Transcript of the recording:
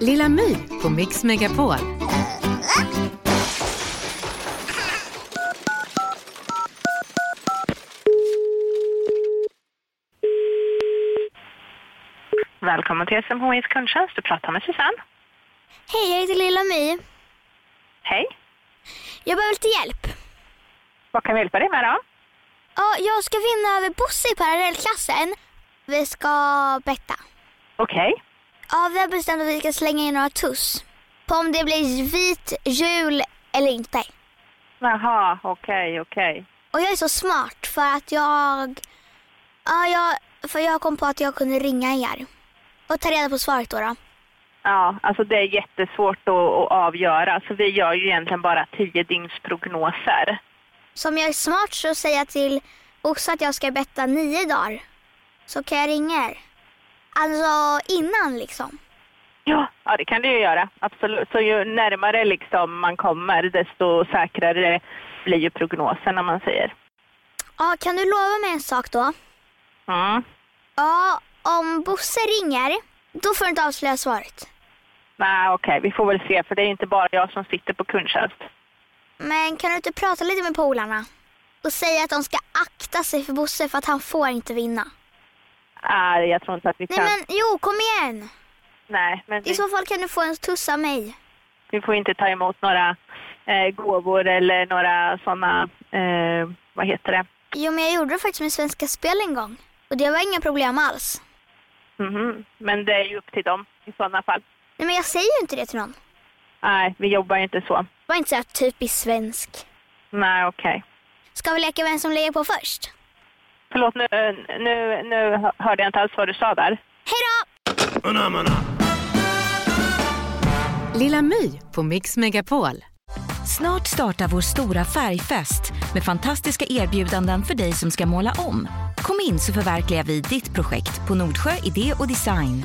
Lilla My på Mix Megapol. Välkommen till SMHIs kundtjänst. Du pratar med Susanne. Hej, jag heter Lilla My. Hej. Jag behöver lite hjälp. Vad kan vi hjälpa dig med då? Ja, jag ska vinna över Bosse i parallellklassen. Vi ska betta. Okej. Ja, vi har bestämt att vi ska slänga in några tuss. På om det blir vit jul eller inte. Jaha, okej, okej. Och jag är så smart för att jag... Ja, jag, för jag kom på att jag kunde ringa er. Och ta reda på svaret då. då. Ja, alltså det är jättesvårt att, att avgöra. Så vi gör ju egentligen bara tio dygnsprognoser. Så om jag är smart så säger jag till Bosse att jag ska betta nio dagar. Så kan jag ringa er. Alltså innan liksom. Ja. ja, det kan du ju göra. Absolut. Så ju närmare liksom man kommer desto säkrare blir ju prognosen om man säger. Ja, kan du lova mig en sak då? Mm. Ja, om Bosse ringer, då får du inte avslöja svaret. Nej, okej, vi får väl se för det är inte bara jag som sitter på kundtjänst. Men kan du inte prata lite med polarna? Och säga att de ska akta sig för Bosse för att han får inte vinna. Nej, jag tror inte att vi Nej kan. men jo, kom igen! Nej, men I vi, så fall kan du få en tuss av mig. vi får inte ta emot några eh, gåvor eller några sådana, eh, vad heter det? Jo men jag gjorde det faktiskt med Svenska Spel en gång. Och det var inga problem alls. Mhm. Men det är ju upp till dem i sådana fall. Nej men jag säger ju inte det till någon. Nej, vi jobbar ju inte så. Var inte så här typiskt svensk. Nej, okej. Ska vi leka vem som lägger på först? Förlåt, nu, eh, nu, nu hörde jag inte alls vad du sa där. Hej då! Lilla My på Mix Megapol. Snart startar vår stora färgfest med fantastiska erbjudanden för dig som ska måla om. Kom in så förverkligar vi ditt projekt på Nordsjö Idé och Design.